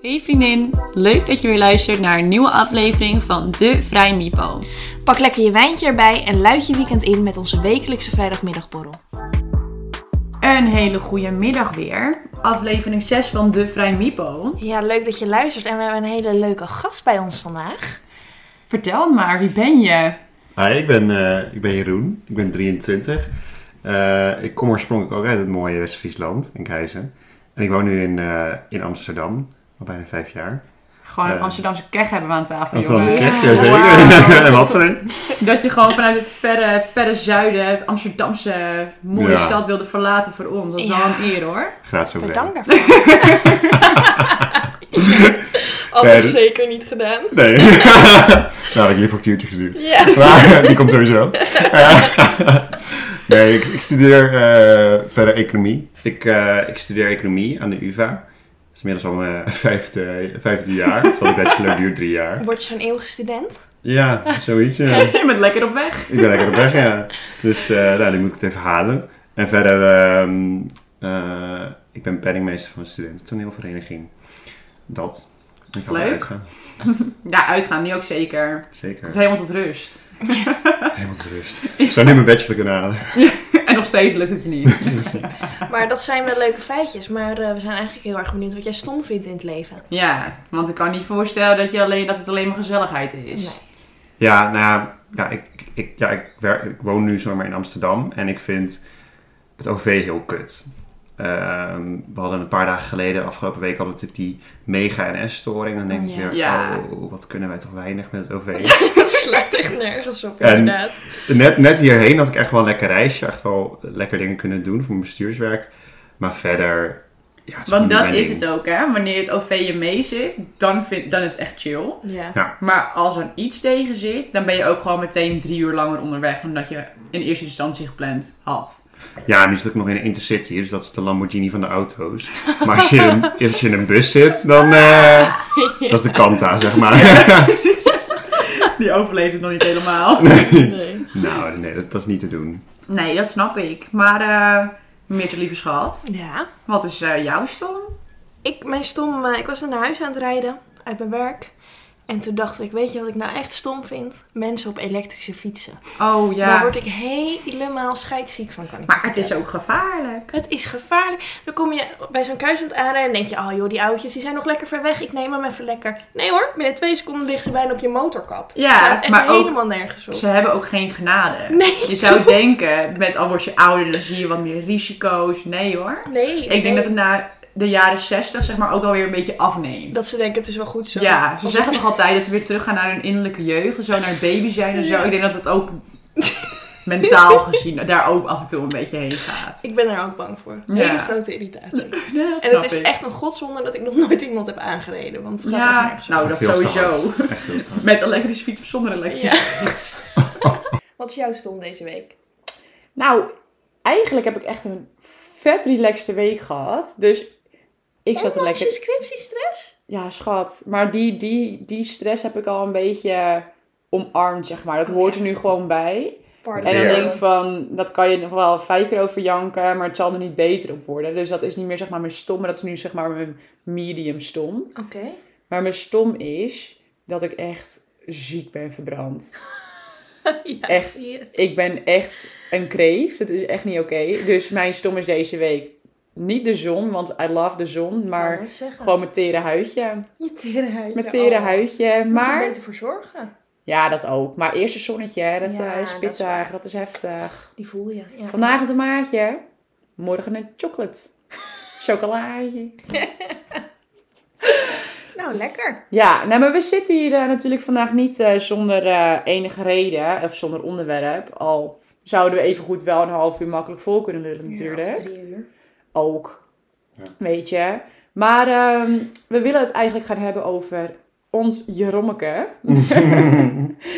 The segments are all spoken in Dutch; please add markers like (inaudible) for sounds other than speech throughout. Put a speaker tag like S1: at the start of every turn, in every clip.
S1: Hey vriendin, leuk dat je weer luistert naar een nieuwe aflevering van De Vrij Mipo.
S2: Pak lekker je wijntje erbij en luid je weekend in met onze wekelijkse vrijdagmiddagborrel.
S1: Een hele goede middag weer. Aflevering 6 van De Vrij Mipo.
S2: Ja, leuk dat je luistert en we hebben een hele leuke gast bij ons vandaag.
S1: Vertel maar, wie ben je?
S3: Hi, ik ben, eh, ik ben Jeroen. Ik ben 23. Eh, ik kom oorspronkelijk ook uit het mooie West-Friesland, in Keizen. En ik woon nu in, eh, in Amsterdam, al bijna vijf jaar.
S1: Gewoon een
S3: Eh.
S1: Amsterdamse keg hebben we aan tafel,
S3: Amsterdamse
S1: jongens.
S3: kerst, jazeker.
S2: Wauw.
S3: (laughs) en wat voor een.
S1: Dat je gewoon vanuit het verre, verre zuiden, het Amsterdamse mooie
S3: Ja.
S1: stad wilde verlaten voor ons. Dat is
S2: Ja.
S1: wel een eer hoor.
S3: Graag zo
S2: Bedankt daarvoor.
S3: Anders Nee, dat-
S2: zeker niet gedaan.
S3: Nee. (laughs) nou, had ik je een factuurtje gestuurd. (laughs) Maar, die komt sowieso. (laughs) nee, ik, ik studeer eh, verder economie. Ik, eh, ik studeer economie aan de UvA. Dat is inmiddels al mijn (laughs) vijfde, vijfde jaar. Terwijl de bachelor duurt drie jaar.
S2: Word je zo'n eeuwige student?
S3: Ja, zoiets. Ja.
S1: Je bent lekker op weg.
S3: Ik ben lekker op weg, ja. Dus eh, nou, die moet ik het even halen. En verder, ehm, eh, ik ben penningmeester van een studententoneelvereniging. Dat. Ik ga wel
S1: Leuk.
S3: uitgaan.
S1: Ja, uitgaan nu ook zeker. Het is
S3: Zeker.
S1: helemaal tot rust. (laughs)
S3: Helemaal tot rust. Ik zou nu mijn bachelor kunnen halen.
S1: En nog steeds lukt het je niet.
S2: Maar dat zijn wel leuke feitjes, maar eh, we zijn eigenlijk heel erg benieuwd wat jij stom vindt in het leven.
S1: Ja, want ik kan niet voorstellen dat, je alleen, dat het alleen maar gezelligheid is.
S2: (laughs) Nee.
S3: Ja, nou ja, ja, ik, ik, ja ik, werk, ik woon nu zomaar in Amsterdam en ik vind het OV heel kut. Ehm, we hadden een paar dagen geleden, afgelopen week, hadden we natuurlijk die mega NS-storing. Dan denk ik
S2: Ja.
S3: weer,
S1: Ja.
S3: oh, wat kunnen wij toch weinig met het OV.
S1: (laughs)
S2: Dat slaat echt nergens op,
S3: En-
S2: inderdaad.
S3: Net, net hierheen had ik echt wel een lekker reisje. Echt wel lekker dingen kunnen doen voor mijn bestuurswerk. Maar verder... Ja, het is gewoon
S1: Want
S3: niet
S1: dat
S3: mijn
S1: is
S3: ding.
S1: het ook, hè? Wanneer het OV je mee zit, dan, vind, dan is het echt chill.
S2: Ja.
S1: Maar als er iets tegen zit, dan ben je ook gewoon meteen drie uur langer onderweg dan dat je in eerste instantie gepland had. (laughs)
S3: Ja, nu zit ik nog in een Intercity. Dus dat is de Lamborghini van de auto's. Maar als je in
S1: (laughs)
S3: een, als je in een bus zit, dan... eh, Dat is de Kanta,
S1: (laughs)
S3: zeg maar.
S1: Die overleeft het nog niet helemaal.
S2: Nee.
S3: (laughs) nou, nee, dat, dat is niet te doen.
S1: Nee, dat snap ik. Maar, eh meer te lieve schat,
S2: Ja.
S1: wat is eh, jouw stom?
S2: Ik, mijn stom, eh, ik was naar huis aan het rijden uit mijn werk. En toen dacht ik, weet je wat ik nou echt stom vind? Mensen op elektrische fietsen.
S1: Oh
S2: Daar
S1: ja.
S2: word ik helemaal scheidsziek van, kan ik
S1: Maar
S2: je
S1: het is
S2: vertellen.
S1: ook gevaarlijk.
S2: Het is gevaarlijk. Dan kom je bij zo'n kruisend aanrijden en denk je, oh joh, die oudjes die zijn nog lekker ver weg. Ik neem hem even lekker. Nee hoor, binnen twee seconden liggen ze bijna op je motorkap.
S1: Ja,
S2: Het slaat echt
S1: maar ook-
S2: helemaal nergens op.
S1: Ze hebben ook geen genade.
S2: Nee,
S1: Je zou
S2: klopt.
S1: denken, met al word je ouder, dan zie je wat meer risico's. Nee hoor.
S2: Nee.
S1: Ik denk dat het na de jaren 60 zeg maar ook alweer een beetje afneemt.
S2: Dat ze denken, het is wel goed zo.
S1: Ja, ze
S2: Als-
S1: zeggen toch altijd dat ze weer teruggaan naar hun innerlijke jeugd en zo, naar het baby zijn en zo.
S2: Ja.
S1: Ik denk dat het ook (laughs) mentaal gezien daar ook af en toe een beetje heen gaat.
S2: Ik ben daar ook bang voor.
S1: Ja.
S2: Hele grote irritatie.
S1: Ja, dat
S2: En het is echt een godzonde dat ik nog nooit iemand heb aangereden. Want het gaat echt
S1: Ja,
S2: nergens op.
S1: nou dat
S3: Veel te hard.
S1: sowieso.
S3: Echt heel straf.
S1: (laughs) Met elektrische fiets of zonder elektrische fiets.
S2: Wat is jouw stom deze week?
S1: Nou, eigenlijk heb ik echt een vet relaxte week gehad. Dus ik zat er
S2: Ondanks
S1: lekker...
S2: je scriptiestress?
S1: Ja, schat. Maar die, die, die stress heb ik al een beetje omarmd, zeg maar. Dat hoort er nu gewoon bij.
S2: Pardon.
S1: En dan
S3: Ja.
S1: denk ik van, dat kan je nog wel vijf keer over janken, maar het zal er niet beter op worden. Dus dat is niet meer zeg maar mijn stom, maar dat is nu zeg maar mijn medium stom.
S2: Oké.
S1: Maar mijn stom is dat ik echt ziek ben verbrand.
S2: (laughs) ja,
S1: Echt.
S2: zie je het.
S1: Ik ben echt een kreeft, dat is echt niet oké. Dus mijn stom is deze week niet de zon, want I love de zon,
S2: Wou
S1: maar
S2: net zeggen.
S1: gewoon mijn tere huidje.
S2: Je tere huidje.
S1: Mijn tere
S2: oh.
S1: huidje,
S2: Moet je er
S1: maar...
S2: beter voor zorgen.
S1: Ja, dat ook. Maar eerst een zonnetje, hè. dat
S2: Ja,
S1: eh,
S2: dat
S1: is
S2: is
S1: pittig,
S2: waar.
S1: dat is heftig.
S2: Die voel je. Ja.
S1: Vandaag een tomaatje, morgen een chocolate.
S2: (laughs)
S1: Chocolaatje.
S2: Nou, lekker.
S1: Ja, nou, maar we zitten hier eh, natuurlijk vandaag niet eh, zonder eh, enige reden of zonder onderwerp. Al zouden we even goed wel een half uur makkelijk vol kunnen lullen natuurlijk.
S2: Ja, of drie uur.
S1: Ook,
S3: Ja.
S1: weet je. Maar ehm, we willen het eigenlijk gaan hebben over ons Jerommeke.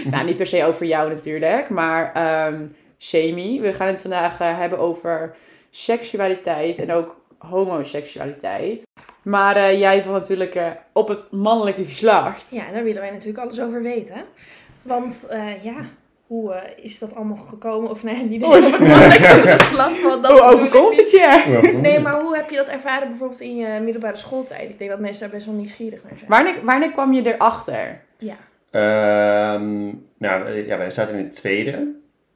S1: nou, niet per se over jou natuurlijk, maar ehm semi. We gaan het vandaag eh, hebben over seksualiteit en ook homoseksualiteit. Maar eh, jij valt natuurlijk eh, op het mannelijke geslacht.
S2: Ja, daar willen wij natuurlijk alles over weten. Want eh, ja,
S4: hoe eh, is dat allemaal gekomen? Of nee, niet
S1: Oh,
S4: op het (laughs) moment dat je slag, want dat
S1: Hoe overkomt het je?
S4: (laughs) Nee, maar hoe heb je dat ervaren bijvoorbeeld in je middelbare schooltijd? Ik denk dat mensen daar best wel nieuwsgierig naar zijn.
S1: Wanneer, wanneer kwam je erachter?
S4: Ja.
S3: Ehm, nou, ja, wij zaten in het tweede.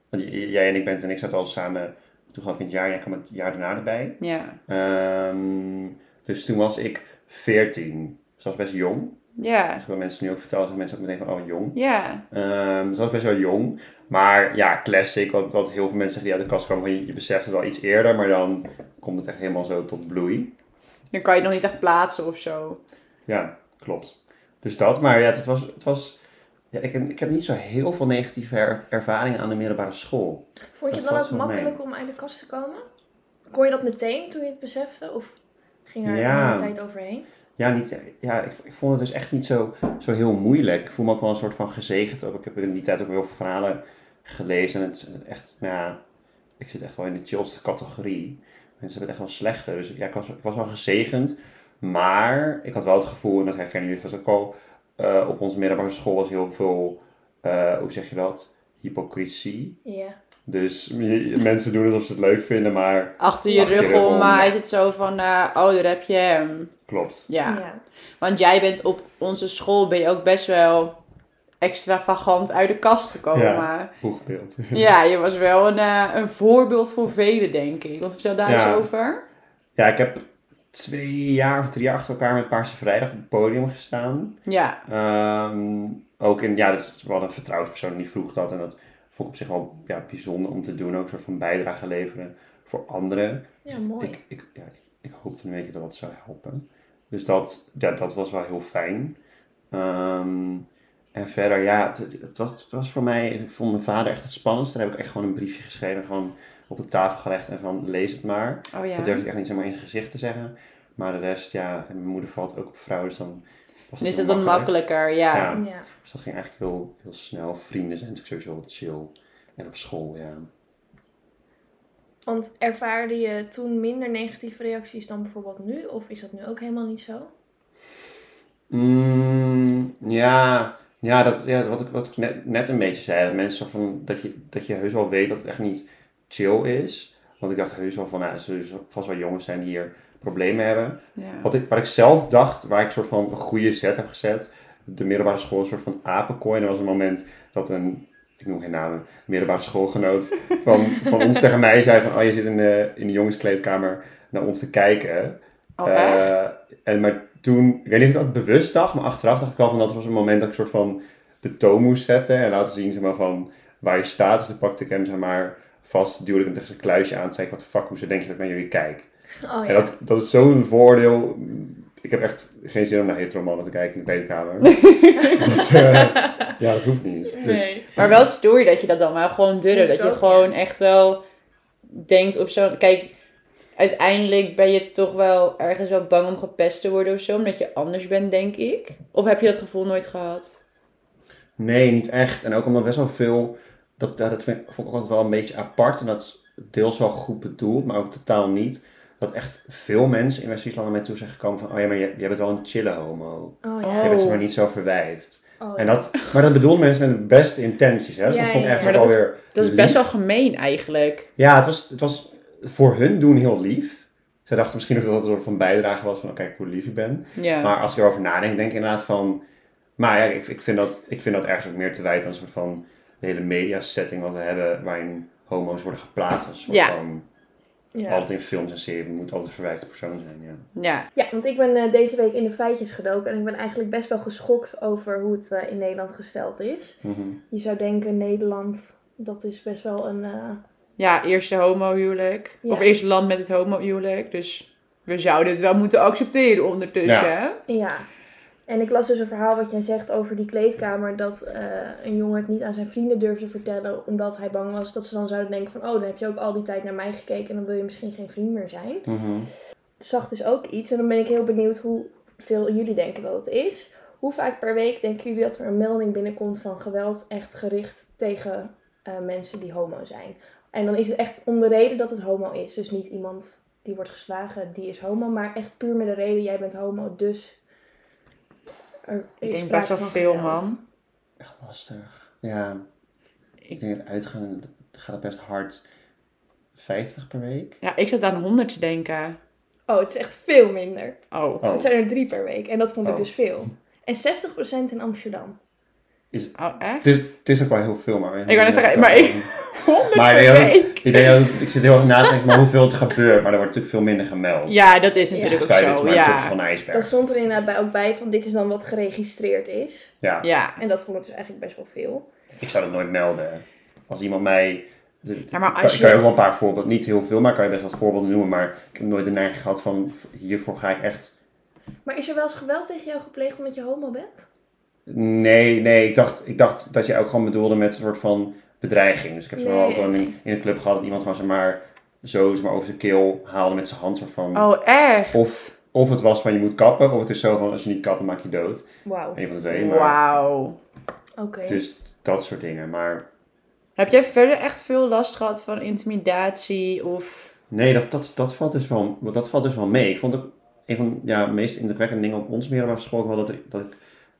S3: Want j- jij en ik, Bent en ik zaten al samen. Toen gaf ik het jaar, jij kwam het jaar daarna erbij.
S1: Ja.
S3: Ehm, dus toen was ik 14. Dus dat was best jong.
S1: Ja.
S3: Als ik wat mensen nu ook vertel, zeggen mensen ook meteen van, oh, jong.
S1: Ja.
S3: Ehm, dus dat was best wel jong. Maar ja, classic, wat, wat heel veel mensen zeggen die uit de kast komen. van, Je, je beseft het al iets eerder, maar dan komt het echt helemaal zo tot bloei.
S1: Dan kan je het nog niet echt plaatsen of zo.
S3: Ja, klopt. Dus dat, maar ja, het was... Het was ja, ik, heb, ik heb niet zo heel veel negatieve er- ervaringen aan de middelbare school.
S4: Vond
S3: Dat
S4: je het dan
S3: valt
S4: ook
S3: wel mee.
S4: makkelijk om uit de kast te komen? Kon je dat meteen toen je het besefte? Of ging er
S3: Ja.
S4: een tijd overheen?
S3: Ja, niet, ja ik, ik vond het dus echt niet zo, zo heel moeilijk. Ik voel me ook wel een soort van gezegend. Ook. Ik heb in die tijd ook heel veel verhalen gelezen. En het is echt, nou ja, ik zit echt wel in de chillste categorie. Mensen hebben het echt wel slechter. Dus ja, ik was, ik was wel gezegend. Maar ik had wel het gevoel, en dat herkennen jullie vast ook al, eh, op onze middelbare school was heel veel, eh, hoe zeg je dat, hypocrisie.
S4: Ja.
S3: Dus (laughs) je- je- mensen doen alsof ze het leuk vinden, maar
S1: Achter je
S3: Achter je
S1: rug
S3: rug om,
S1: om maar
S3: ja.
S1: is het zo van, eh, oh, daar heb je hem.
S3: klopt.
S1: Ja. Want jij bent op onze school ben je ook best wel extravagant uit de kast gekomen. Ja,
S3: Boegbeeld.
S1: je was wel een, eh, een voorbeeld voor velen, denk ik. Want vertel daar
S3: Ja.
S1: eens over.
S3: Ja, ik heb twee jaar of drie jaar achter elkaar met Paarse Vrijdag op het podium gestaan.
S1: Ja.
S3: Ehm, ook in, ja, dus we hadden een vertrouwenspersoon die vroeg dat. En dat vond ik op zich wel ja, bijzonder om te doen. Ook een soort van bijdrage leveren voor anderen.
S4: Ja, mooi.
S3: Ik, ik, ja, ik hoopte een beetje dat dat zou helpen. Dus dat, ja, dat was wel heel fijn. Ehm, en verder, ja, het, het- het was, het was voor mij, ik vond mijn vader echt het spannendste. Daar heb ik echt gewoon een briefje geschreven, gewoon op de tafel gelegd en van lees het maar.
S1: Oh ja.
S3: Dat durf ik echt niet zomaar in zijn gezicht te zeggen. Maar de rest, ja, en mijn moeder valt ook op vrouwen, dus dan was
S1: Dan is
S3: heel
S1: het dan makkelijker, ja.
S3: Ja.
S4: Ja.
S3: Dus dat ging eigenlijk heel, heel snel. Vrienden zijn natuurlijk sowieso heel chill. En op school, ja.
S4: Want ervaarde je toen minder negatieve reacties dan bijvoorbeeld nu? Of is dat nu ook helemaal niet zo? Oh
S3: Mm, ja, ja, dat, ja wat ik, wat ik net, net een beetje zei. Dat mensen zo van, dat, je, dat je heus wel weet dat het echt niet chill is. Want ik dacht heus wel van, nou, er zullen vast wel jongens zijn die hier problemen hebben.
S1: Ja.
S3: Wat ik, waar ik zelf dacht, waar ik soort van een goede set heb gezet. De middelbare school een soort van apenkooi. En er was een moment dat een, ik noem geen namen, middelbare
S1: (laughs)
S3: schoolgenoot van, van ons tegen mij zei van... Oh, je zit in de, in de jongenskleedkamer naar ons te kijken.
S1: Oh,
S3: Eh,
S1: echt?
S3: en, maar toen, ik weet niet of ik dat bewust dacht, maar achteraf dacht ik wel van... Dat was een moment dat ik soort van de toon moest zetten en laten zien zeg maar, van waar je staat. Dus toen pakte ik hem zeg maar, vast, duwde ik hem tegen zijn kluisje aan en zei ik... Wat de fuck, hoezo denk je dat ik naar jullie kijk?
S4: Oh ja.
S3: Ja, dat, dat is zo'n voordeel. Ik heb echt geen zin om naar heteromannen te kijken in de kleedkamer. (laughs) dat, eh, ja, dat hoeft niet. Dus-
S4: Nee.
S1: Maar wel stoer dat je dat dan maar gewoon durft.
S4: Vind ik
S1: Dat je
S4: ook,
S1: gewoon
S4: ja.
S1: echt wel denkt op zo'n... Kijk, uiteindelijk ben je toch wel ergens wel bang om gepest te worden of zo. Omdat je anders bent, denk ik. Of heb je dat gevoel nooit gehad?
S3: Nee, niet echt. En ook omdat best wel veel... Dat, dat vind, ik- vond ik ook altijd wel een beetje apart. En dat is deels wel goed bedoeld, maar ook totaal niet. Dat echt veel mensen in West-Friesland naar mij toe zijn gekomen van... Oh ja, maar jij, jij bent wel een chille homo.
S4: Oh
S1: Oh.
S4: ja.
S3: Jij bent ze maar niet zo verwijfd.
S4: Oh,
S3: En dat, maar dat bedoelden mensen met de beste intenties. Hè? Dus
S4: Ja,
S3: dat vond ik
S4: ja,
S3: echt
S1: ja.
S3: ook
S1: Maar dat
S3: alweer
S1: Dat is
S3: lief.
S1: best wel gemeen eigenlijk.
S3: Ja, het was, het was voor hun doen heel lief. Ze dachten misschien ook dat het een soort van bijdrage was van, oh, kijk hoe lief ik ben.
S1: Ja.
S3: Maar als ik erover nadenk, denk ik inderdaad van... Maar ja, ik, ik, vind dat, ik vind dat ergens ook meer te wijten aan een soort van... De hele mediasetting wat we hebben, waarin homo's worden geplaatst. Als een soort
S1: Ja.
S3: van,
S4: ja.
S3: altijd in films en series, moet altijd een verwijfde persoon zijn, ja.
S1: ja.
S4: ja, want ik ben eh, deze week in de feitjes gedoken. En ik ben eigenlijk best wel geschokt over hoe het eh, in Nederland gesteld is.
S3: Mhm.
S4: Je zou denken, Nederland, dat is best wel een... eh,
S1: ja, eerste homohuwelijk.
S4: Ja.
S1: Of eerste land met het homohuwelijk. Dus we zouden het wel moeten accepteren ondertussen.
S4: Ja. En ik las dus een verhaal wat jij zegt over die kleedkamer. Dat eh, een jongen het niet aan zijn vrienden durfde vertellen. Omdat hij bang was dat ze dan zouden denken van... Oh, dan heb je ook al die tijd naar mij gekeken. En dan wil je misschien geen vriend meer zijn.
S3: Mhm.
S4: Zag dus ook iets. En dan ben ik heel benieuwd hoeveel jullie denken dat het is. Hoe vaak per week denken jullie dat er een melding binnenkomt van geweld echt gericht tegen eh, mensen die homo zijn? En dan is het echt om de reden dat het homo is. Dus niet iemand die wordt geslagen, die is homo. Maar echt puur met de reden, jij bent homo, dus... Er
S1: Ik
S4: is
S1: denk best
S4: sprake
S1: wel
S4: van
S1: veel,
S4: geweld.
S1: man.
S3: Echt lastig. Ja. Ik denk dat uitgaan gaat het best hard 50 per week.
S1: Ja, ik zat aan 100 te denken.
S4: Oh, het is echt veel minder.
S1: Oh.
S3: Oh,
S4: Het zijn er drie per week en dat vond ik
S3: Oh.
S4: dus veel. En 60% in Amsterdam.
S1: Oh, echt?
S3: het is, het is ook wel heel veel, maar...
S1: Ik wou net zeggen, maar
S3: (laughs)
S1: ik- 100
S3: Maar
S1: per
S3: ik denk
S1: week?
S3: Ik, denk dat- ik zit heel erg na te denken, maar hoeveel het gebeurt. Maar er wordt natuurlijk veel minder gemeld.
S1: Ja, dat is
S4: Ja.
S1: natuurlijk
S3: Het feit
S1: ook
S3: is
S1: zo.
S3: maar
S1: ja.
S3: een tip van de
S4: Dan
S3: ijsberg.
S4: stond er inderdaad bij- ook bij van dit is dan wat geregistreerd is.
S3: Ja.
S1: Ja.
S4: En dat vond ik dus eigenlijk best wel veel.
S3: Ik zou dat nooit melden. Als iemand mij... de-
S1: Ja, maar
S3: kan,
S1: als je-
S3: kan je ook wel een paar voorbeelden, niet heel veel, maar kan je best wat voorbeelden noemen. Maar ik heb nooit de neiging gehad van, hiervoor ga ik echt
S4: Maar is er wel eens geweld tegen jou gepleegd omdat je homo bent?
S3: Nee, nee, ik dacht, ik dacht dat je ook gewoon bedoelde met een soort van bedreiging. Dus ik heb zo wel
S4: Nee.
S3: ook wel in, in een club gehad dat iemand gewoon zeg maar zo zeg maar, over zijn keel haalde met zijn hand. Soort van,
S1: Oh, echt?
S3: of, of het was van je moet kappen, of het is zo van als je niet kapt dan maak je dood.
S4: Wauw.
S3: Een van de twee. Maar
S1: Wauw.
S4: Oké.
S3: Dus dat soort dingen. Maar
S1: Heb jij verder echt veel last gehad van intimidatie of...
S3: nee, dat, dat, dat, valt, dus wel, dat valt dus wel mee. Ik vond ook een van ja, de meest indrukwekkende dingen op ons middelbare school ook wel dat, ik- dat ik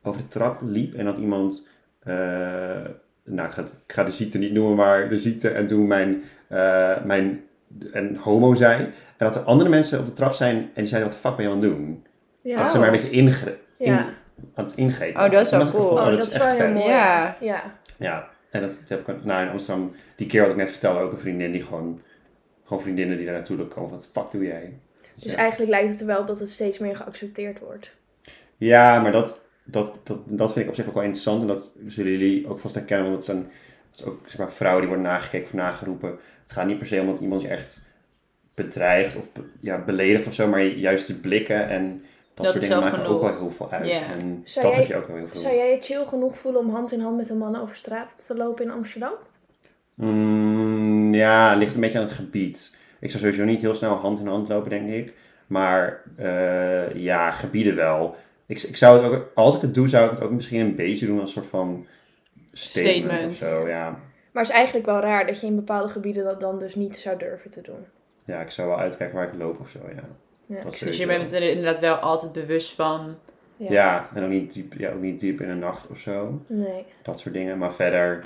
S3: over de trap liep en dat iemand, eh, nou ik ga, het- ik ga de ziekte niet noemen, maar de ziekte en toen mijn, eh, mijn en homo zei. En dat er andere mensen op de trap zijn en die zeiden, wat de fuck ben je aan het doen?
S4: ja.
S3: Dat ze maar een beetje ingre- in-
S4: Ja.
S3: aan het ingrepen.
S1: Oh, dat is wel
S3: En ik
S1: cool.
S3: vond,
S4: Oh, dat is wel heel mooi.
S1: Ja.
S4: Ja.
S3: Ja, en dat heb ik ook- nou, in Amsterdam, die keer wat ik net vertelde, ook een vriendin die gewoon, gewoon vriendinnen die daar naartoe komen. Wat de fuck doe jij?
S4: Dus eigenlijk lijkt het er wel op dat het steeds meer geaccepteerd wordt.
S3: Ja, maar dat, dat, dat, dat vind ik op zich ook wel interessant. En dat zullen jullie ook vast herkennen. Want dat zijn, dat is ook zeg maar, vrouwen die worden nagekeken of nageroepen. Het gaat niet per se om dat iemand je echt bedreigt of be- ja, beledigt of zo. Maar juist de blikken en dat,
S1: Dat
S3: soort
S1: is
S3: dingen
S1: al
S3: maken ook
S1: genoeg.
S3: wel heel veel uit.
S1: Ja.
S3: En
S4: Zou
S3: dat
S4: jij-
S3: heb je ook wel heel veel.
S4: Zou jij je chill genoeg voelen om hand in hand met een man over straat te lopen in Amsterdam?
S3: Mm, ja, ligt een beetje aan het gebied. Ik zou sowieso niet heel snel hand in hand lopen, denk ik. Maar eh, ja, gebieden wel. Ik, ik zou het ook, als ik het doe, zou ik het ook misschien een beetje doen als een soort van statement,
S1: Statement.
S3: of zo. Ja.
S4: Maar het is eigenlijk wel raar dat je in bepaalde gebieden dat dan dus niet zou durven te doen.
S3: ja, ik zou wel uitkijken waar ik loop of zo. Ja.
S4: Ja.
S3: Dat
S1: Dus je
S3: sowieso.
S1: bent er inderdaad wel altijd bewust van... (laughs)
S4: Ja.
S3: Ja, en ook niet, diep, ja, ook niet diep in de nacht of zo.
S4: Nee.
S3: Dat soort dingen. Maar verder,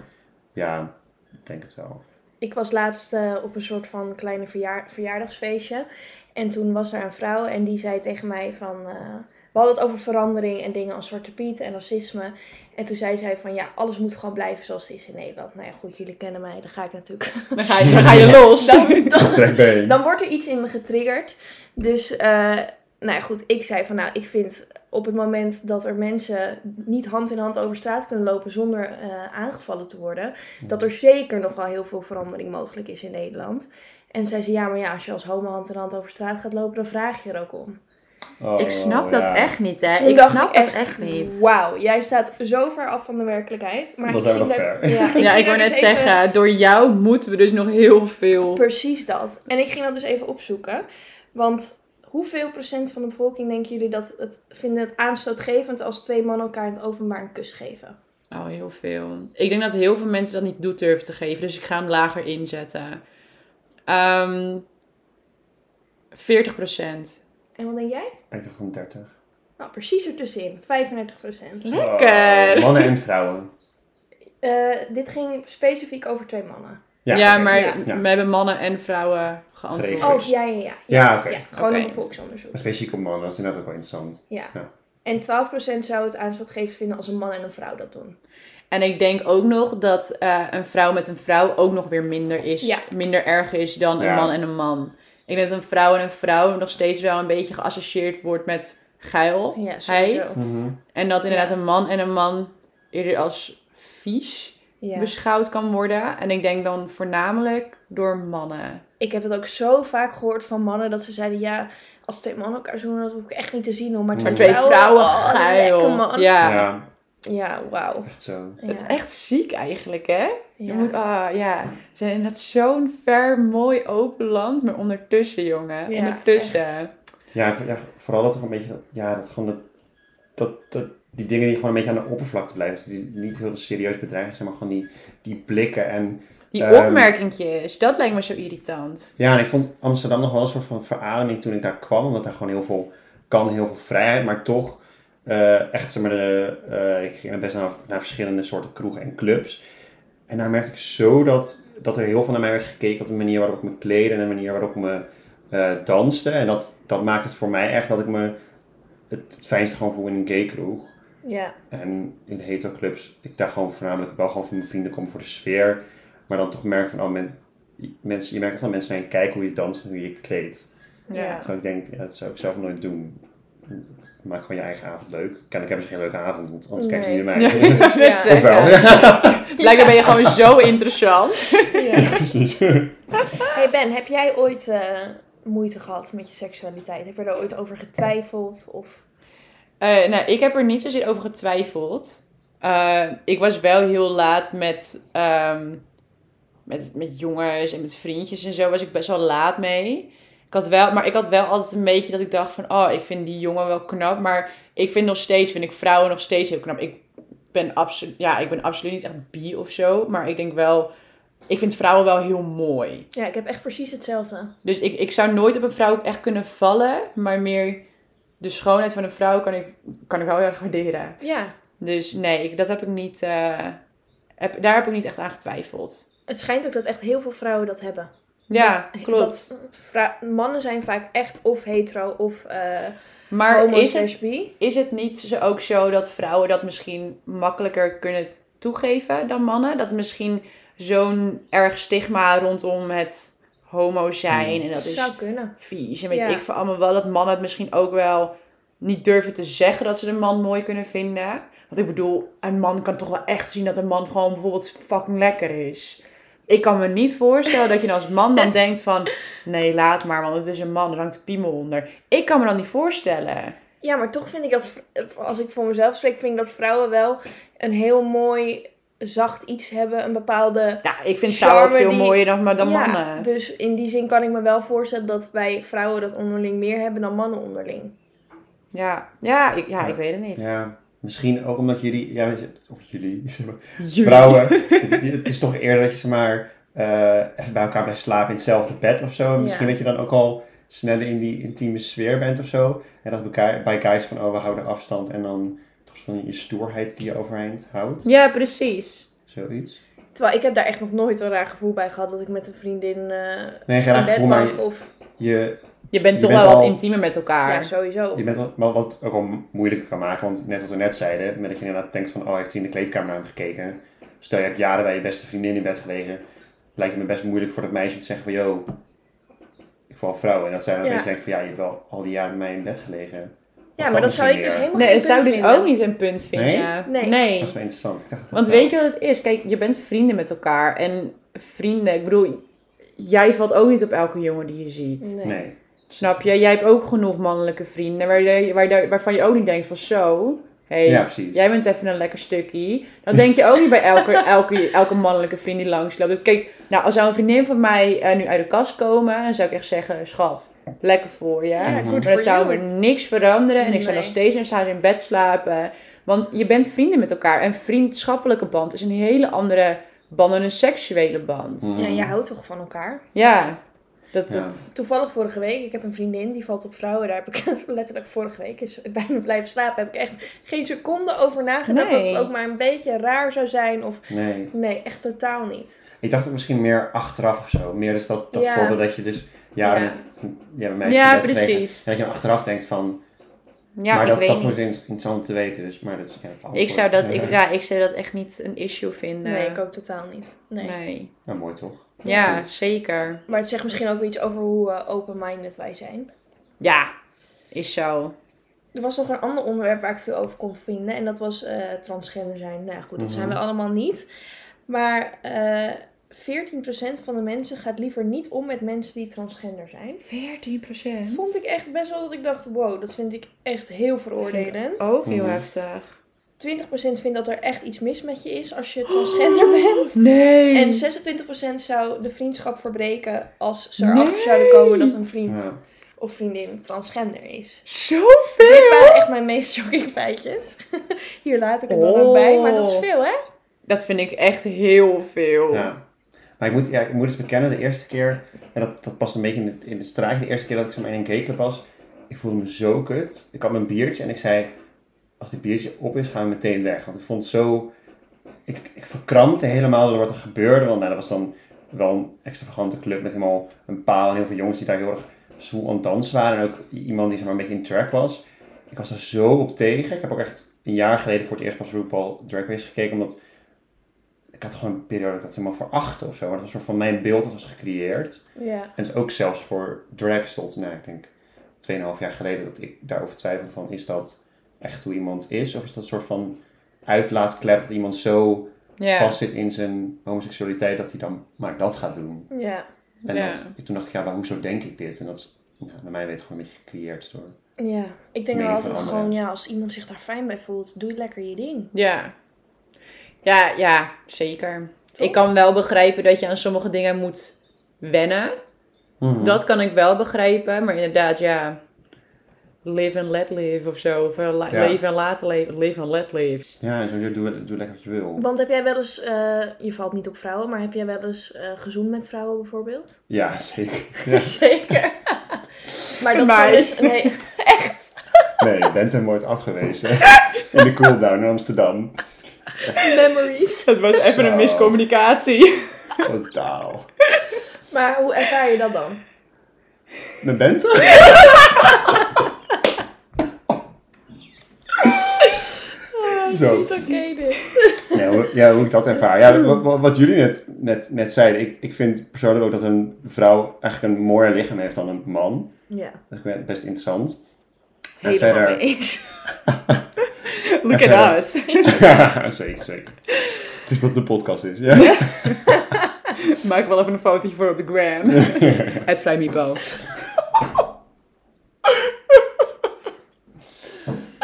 S3: ja, ik denk het
S1: (laughs)
S3: wel.
S4: Ik was laatst eh, op een soort van kleine verjaar- verjaardagsfeestje. En toen was er een vrouw en die zei tegen mij van... eh, we hadden het over verandering en dingen als Zwarte Piet en racisme. En toen zei zij van ja, alles moet gewoon blijven zoals het is in Nederland. Nou ja, goed, jullie kennen mij, daar ga ik natuurlijk. (laughs)
S1: Dan ga je, dan ga je los.
S4: Dan, dan,
S3: Strek been.
S4: dan wordt er iets in me getriggerd. Dus, eh nou ja, goed, ik zei van nou, ik vind op het moment dat er mensen niet hand in hand over straat kunnen lopen zonder eh, aangevallen te worden, dat er zeker nog wel heel veel verandering mogelijk is in Nederland. En zij zei ja, maar ja, als je als homo hand in hand over straat gaat lopen, dan vraag je er ook om.
S3: Oh,
S1: (laughs) Ik snap
S3: ja.
S1: dat echt niet, hè.
S4: Toen
S1: ik
S4: dacht
S1: snap
S4: ik
S1: dat
S4: echt,
S1: echt niet.
S4: Wauw, jij staat zo ver af van de werkelijkheid. Maar
S3: Dat
S4: ik
S3: zijn we
S4: ging
S3: nog
S4: daar-
S1: (laughs)
S3: ver.
S4: Ja,
S1: Ja,
S4: ging
S1: ik wou
S4: daar
S1: net
S4: dus even-
S1: zeggen, door jou moeten we dus nog heel veel.
S4: Precies dat. En ik ging dat dus even opzoeken. Want hoeveel procent van de bevolking denken jullie dat het vinden het aanstootgevend als twee mannen elkaar in het openbaar een kus geven?
S1: Oh, heel veel. Ik denk dat heel veel mensen dat niet toe durven te geven, dus ik ga hem lager inzetten. Ehm 40
S4: En wat denk jij?
S3: Ik dacht gewoon 30.
S4: Nou, precies ertussenin. 35 procent.
S1: Lekker.
S3: Oh, mannen en vrouwen.
S4: Eh, dit ging specifiek over twee mannen.
S1: Ja,
S3: oké.
S1: maar
S4: ja.
S1: we hebben mannen en vrouwen geantwoord.
S3: Geregeld.
S4: Oh, ja, ja, ja.
S3: Ja, oké.
S4: gewoon
S1: Oké.
S4: een bevolksonderzoek.
S3: Maar specifiek op mannen, dat is inderdaad ook wel interessant.
S4: Ja.
S3: Ja.
S4: En 12 procent zou het aanstootgevend vinden als een man en een vrouw dat doen.
S1: En ik denk ook nog dat eh, een vrouw met een vrouw ook nog weer minder is,
S4: Ja.
S1: minder erg is dan
S3: Ja.
S1: een man en een man. Ik denk dat een vrouw en een vrouw nog steeds wel een beetje geassocieerd wordt met geil.
S4: Ja,
S1: Heid.
S4: sowieso.
S1: En dat inderdaad
S4: Ja.
S1: een man en een man eerder als vies
S4: Ja.
S1: beschouwd kan worden. En ik denk dan voornamelijk door mannen.
S4: Ik heb het ook zo vaak gehoord van mannen dat ze zeiden: Ja, als twee mannen elkaar zoenen, dat hoef ik echt niet te zien hoor. Maar twee
S1: Maar twee
S4: vrouwen,
S1: vrouwen,
S4: oh,
S1: geil.
S4: lekker, man. Ja,
S1: Ja.
S3: Ja,
S4: wauw.
S3: echt zo.
S4: Ja.
S1: Het is echt ziek eigenlijk, hè? Je
S4: ja.
S1: moet, ah, ja. We zijn inderdaad zo'n ver, mooi open land. Maar ondertussen, jongen.
S4: Ja,
S1: ondertussen.
S3: Ja, v- ja, vooral dat er een beetje, ja, dat gewoon dat, dat, dat, die dingen die gewoon een beetje aan de oppervlakte blijven. Dus die niet heel serieus bedreigend zijn, maar gewoon die, die blikken. En
S1: Die
S3: Ehm.
S1: opmerkingjes, dat lijkt me zo irritant.
S3: ja, en ik vond Amsterdam nog wel een soort van verademing toen ik daar kwam. Omdat daar gewoon heel veel kan, heel veel vrijheid, maar toch eh, echt, zeg maar, de, eh, ik ging er best naar, naar verschillende soorten kroegen en clubs. En daar merkte ik zo dat, dat er heel veel naar mij werd gekeken op de manier waarop ik me kleedde en de manier waarop ik me eh, danste. En dat, dat maakt het voor mij echt dat ik me het, het fijnste gewoon voel in een gay kroeg.
S4: Ja.
S3: En in hetero clubs, ik daar gewoon voornamelijk wel gewoon voor mijn vrienden kom voor de sfeer. Maar dan toch merk van, oh, men, mensen, je merkt echt dat mensen naar je kijken hoe je danst en hoe je je kleedt.
S1: Ja.
S3: Terwijl ik denk, ja, dat zou ik zelf nooit doen. Maak gewoon je eigen avond leuk. Kennelijk hebben ze dus geen leuke avond, want anders kijken ze niet
S4: Nee.
S1: (laughs)
S3: naar
S1: Ja,
S3: mij.
S1: ik wil het
S3: Of wel?
S1: zeggen. Blijkbaar ben je gewoon
S4: (laughs)
S1: zo interessant.
S3: (laughs) ja, precies.
S4: Hey Ben, heb jij ooit eh, moeite gehad met je seksualiteit? Heb je er ooit over getwijfeld? Of...
S1: Eh, nou, ik heb er niet zozeer over getwijfeld. Eh, ik was wel heel laat met, ehm, met, met jongens en met vriendjes en zo was ik best wel laat mee. Ik had wel, maar ik had wel altijd een beetje dat ik dacht van, oh, ik vind die jongen wel knap. Maar ik vind nog steeds, vind ik vrouwen nog steeds heel knap. Ik ben, absolu- ja, ik ben absoluut niet echt bi of zo. Maar ik denk wel, ik vind vrouwen wel heel mooi.
S4: Ja, ik heb echt precies hetzelfde.
S1: Dus ik, ik zou nooit op een vrouw echt kunnen vallen. Maar meer de schoonheid van een vrouw kan ik, kan ik wel heel erg waarderen.
S4: Ja,
S1: Dus nee, ik, dat heb ik niet. eh, heb, daar heb ik niet echt aan getwijfeld.
S4: het schijnt ook dat echt heel veel vrouwen dat hebben.
S1: Ja,
S4: Dat-
S1: klopt.
S4: dat vrou- mannen zijn vaak echt of hetero of eh
S1: maar
S4: homo
S1: is het,
S4: slash bi.
S1: is het niet zo- ook zo dat vrouwen dat misschien makkelijker kunnen toegeven dan mannen? Dat misschien zo'n erg stigma rondom het homo zijn en dat is
S4: Zou kunnen.
S1: vies. En weet
S4: Ja.
S1: ik van allemaal wel dat mannen het misschien ook wel niet durven te zeggen dat ze een man mooi kunnen vinden. Want ik bedoel, een man kan toch wel echt zien dat een man gewoon bijvoorbeeld fucking lekker is. Ik kan me niet voorstellen dat je dan als man (laughs) dan denkt van... Nee, laat maar, want het is een man. Er hangt een piemel onder. Ik kan me dan niet voorstellen.
S4: Ja, maar toch vind ik dat, v- als ik voor mezelf spreek, vind ik dat vrouwen wel een heel mooi zacht iets hebben. Een bepaalde
S1: Ja, ik vind vrouwen
S4: Charme
S1: veel
S4: die-
S1: mooier dan, dan
S4: Ja,
S1: mannen.
S4: Dus in die zin kan ik me wel voorstellen dat wij vrouwen dat onderling meer hebben dan mannen onderling.
S1: Ja, ja, ik, ja, ik weet het niet.
S3: Ja, misschien ook omdat jullie, ja, weet je, of jullie, (laughs) zeg maar,
S1: Jullie.
S3: vrouwen, het- het is toch eerder dat je zeg maar eh, even bij elkaar blijft slapen in hetzelfde bed of zo. En Misschien
S4: Ja.
S3: dat je dan ook al sneller in die intieme sfeer bent of zo. En dat bij, bij guys van, oh, we houden afstand en dan toch van je stoerheid die je overeind houdt.
S1: Ja, precies.
S3: Zoiets.
S4: Terwijl ik heb daar echt nog nooit een raar gevoel bij gehad dat ik met een vriendin eh
S3: Nee, geen
S4: in
S3: raar
S4: bed
S3: gevoel, maar
S4: lag.
S3: je,
S4: Of,
S3: je,
S1: Je bent
S3: Je
S1: toch
S3: bent
S1: wel
S3: al-
S1: wat intiemer met elkaar.
S4: ja, sowieso.
S3: je bent wel, wel- wat het ook al moeilijker kan maken. Want net wat we net zeiden, met dat je inderdaad denkt van, oh, heeft hij in de kleedkamer naar hem gekeken. Stel, je hebt jaren bij je beste vriendin in bed gelegen. Lijkt het me best moeilijk voor dat meisje om te zeggen van, yo, ik val vrouwen. En dat zij dan
S4: Ja.
S3: opeens denkt van, ja, je hebt wel al die jaren met mij in bed gelegen.
S4: ja, maar dat zou ik dus helemaal
S1: Nee,
S4: geen
S1: dat zou ik
S4: punt
S1: dus
S4: vinden.
S1: ook niet een punt vinden.
S4: Nee? Nee.
S3: Dat is wel interessant. Ik dacht dat dat
S1: Want
S3: wel-
S1: weet je wat het is? Kijk, je bent vrienden met elkaar. En vrienden, ik bedoel, jij valt ook niet op elke jongen die je ziet.
S4: Nee.
S3: Nee.
S1: Snap je? Jij hebt ook genoeg mannelijke vrienden waar je, waar je- waarvan je ook niet denkt van zo. hey,
S3: Ja, precies.
S1: jij bent even een lekker stukje. Dan denk je ook niet bij
S3: (laughs)
S1: elke, elke, elke mannelijke vriend die langsloopt. Dus kijk, nou, als zou een vriendin van mij eh, nu uit de kast komen, dan zou ik echt zeggen, schat, lekker voor je.
S4: Ja,
S3: Mhm.
S4: good
S1: Maar
S4: for
S1: dat zou
S4: you.
S1: me niks veranderen. En ik zou
S4: Nee.
S1: nog steeds in samen in bed slapen. Want je bent vrienden met elkaar. En vriendschappelijke band is een hele andere band dan een seksuele band.
S3: Mhm.
S4: Ja, je houdt toch van elkaar?
S1: Ja. Dat,
S3: Ja.
S1: dat,
S4: Toevallig vorige week, ik heb een vriendin die valt op vrouwen. Daar heb ik (laughs) letterlijk vorige week is (laughs) bij me blijven slapen. Heb ik echt geen seconde over nagedacht
S1: Nee.
S4: dat het ook maar een beetje raar zou zijn. Of
S3: Nee.
S4: nee, echt totaal niet.
S3: Ik dacht ook misschien meer achteraf of zo. Meer dus dat, dat
S4: Ja.
S3: voorbeeld dat je dus jaren
S4: Ja.
S3: met ja, bij meisjes
S1: Ja,
S3: in bed gelegen.
S1: precies.
S3: En dat je dan achteraf denkt van...
S1: ja,
S3: maar
S1: ik
S3: dat,
S1: weet
S3: dat
S1: niet.
S3: wordt interessant om te weten dus. Maar dat is ja, het
S1: Ik
S3: antwoord.
S1: zou, dat, ik,
S3: Ja.
S1: ja, ik zou dat echt niet een issue vinden.
S4: Nee, ik ook totaal niet. Nee.
S1: Nee.
S3: Nou, mooi toch?
S1: Ja,
S3: Goed.
S1: zeker.
S4: Maar het zegt misschien ook wel iets over hoe eh, open-minded wij zijn.
S1: Ja, is zo.
S4: Er was nog een ander onderwerp waar ik veel over kon vinden. En dat was eh, transgender zijn. Nou ja, goed, dat zijn we
S3: Mhm.
S4: allemaal niet. Maar eh 14% van de mensen gaat liever niet om met mensen die transgender zijn.
S1: 14 procent.
S4: Vond ik echt best wel dat ik dacht, wow, dat vind ik echt heel veroordelend. 20%
S1: Ook heel
S3: heel Mhm.
S1: heftig.
S4: vindt dat er echt iets mis met je is als je transgender bent.
S1: Oh. Nee.
S4: En 26% zou de vriendschap verbreken als ze erachter
S1: Nee.
S4: zouden komen dat een vriend
S3: Ja.
S4: of vriendin transgender is. Dit
S1: Zoveel!
S4: waren echt mijn meest shocking feitjes. (laughs) Hier laat ik het dan ook bij, maar dat is
S1: Oh.
S4: veel hè?
S1: Dat vind ik echt heel veel.
S3: Ja. Maar ik moet, ja, ik moet eens bekennen, de eerste keer, en dat, dat past een beetje in het, in het straatje, de eerste keer dat ik zo in een gayclub was, ik voelde me zo kut. Ik had mijn biertje en ik zei, als dit biertje op is, gaan we meteen weg. Want ik vond het zo ik, ik verkrampte helemaal door wat er gebeurde. Want nou, dat was dan wel een extravagante club met helemaal een paal en heel veel jongens die daar heel erg zwoel aan het dansen waren. En ook iemand die zeg maar, een beetje in track was. Ik was er zo op tegen. Ik heb ook echt een jaar geleden voor het eerst pas RuPaul Drag Race gekeken. Omdat ik had gewoon een periode dat ik dat helemaal verachtte of zo. Maar dat was een soort van mijn beeld dat was gecreëerd.
S4: Ja.
S3: En dus ook zelfs voor drags tot, nou, ik denk 2,5 jaar geleden dat ik daarover twijfelde van, is dat echt hoe iemand is? Of is dat een soort van uitlaatklep dat iemand zo
S1: Ja.
S3: vast zit in zijn homoseksualiteit dat hij dan maar dat gaat doen?
S4: Ja.
S3: En
S1: Ja.
S3: dat, toen dacht ik, ja, maar hoezo denk ik dit? En dat is, nou, naar mij weet gewoon een beetje gecreëerd door...
S4: Ja. Ik denk wel
S3: Mening
S4: altijd
S3: van anderen.
S4: gewoon, ja, als iemand zich daar fijn bij voelt, doe lekker je ding.
S1: Ja. Ja, ja, zeker.
S4: Toch?
S1: Ik kan wel begrijpen dat je aan sommige dingen moet wennen.
S3: Mhm.
S1: Dat kan ik wel begrijpen, maar inderdaad, ja. Live and let live of zo. Of eh, la-
S3: Ja.
S1: leven en laten leven. Live and let live.
S3: Ja, en sowieso doe, doe lekker wat je wil.
S4: Want heb jij wel eens, eh, je valt niet op vrouwen, maar heb jij wel eens eh gezoend met vrouwen bijvoorbeeld?
S3: Ja, zeker. Ja.
S4: (laughs) Zeker. maar dat
S1: Maar-
S4: zijn dus een hele...
S3: Nee, je bent hem nooit
S1: (laughs)
S3: afgewezen. In de cooldown in Amsterdam.
S4: (laughs) memories.
S1: Het was
S3: even een Zo. (laughs)
S1: miscommunicatie.
S3: Totaal.
S4: Maar hoe ervaar je dat dan?
S3: Mijn
S4: (laughs)
S3: bente? Zo.
S4: Niet oké dit.
S3: Ja hoe, ja, hoe ik dat ervaar. Ja, wat, wat- wat jullie net, net, net zeiden. Ik, ik vind persoonlijk ook dat een vrouw eigenlijk een mooier lichaam heeft dan een man.
S4: Ja.
S3: Dat is best interessant. En
S4: Helemaal
S3: verder-
S4: mee eens. (laughs)
S1: Look
S3: Even
S1: at us.
S3: (laughs) zeker, zeker. Het is dat de podcast is, ja.
S1: Maak wel even een fotootje voor op de
S3: (laughs)
S1: gram. Het Vrijmibo.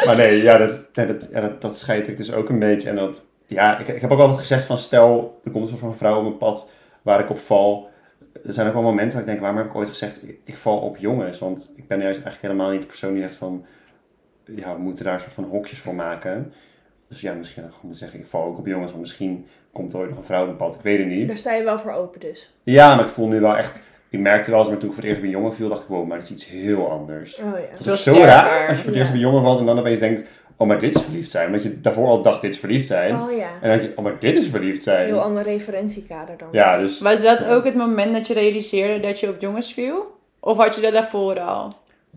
S3: Maar nee, ja, dat, nee, dat, ja, dat, dat scheid ik dus ook een beetje. En dat, ja, ik, ik heb ook altijd gezegd van, stel, er komt een soort van vrouw op mijn pad waar ik op val. Er zijn ook wel momenten dat ik denk, waarom heb ik ooit gezegd, ik, ik val op jongens? Want ik ben juist eigenlijk helemaal niet de persoon die zegt van, ja, we moeten daar een soort van hokjes voor maken. Dus ja, misschien had ik gewoon moeten zeggen, ik val ook op jongens, want misschien komt er ooit nog een vrouw op mijn pad. Ik weet het niet.
S4: Daar sta je wel voor open dus.
S3: Ja, maar ik voel nu wel echt, ik merkte wel eens, maar toen ik voor het eerst bij jongen viel, dacht ik, wow, maar dat is iets heel anders.
S4: Oh ja.
S3: Dat is ook
S1: Zo
S3: zo raar
S1: sterker,
S3: als je voor het
S4: ja.
S3: eerst bij jongen valt en dan opeens denkt, oh maar dit is verliefd zijn. Omdat je daarvoor al dacht dit is verliefd zijn.
S4: Oh ja.
S3: En dan denk je, oh maar dit is verliefd
S4: Heel
S3: zijn.
S4: ander referentiekader dan.
S3: Ja, dus
S1: Was dat ook het moment dat je realiseerde dat je op jongens viel? Of had je dat daarvoor al?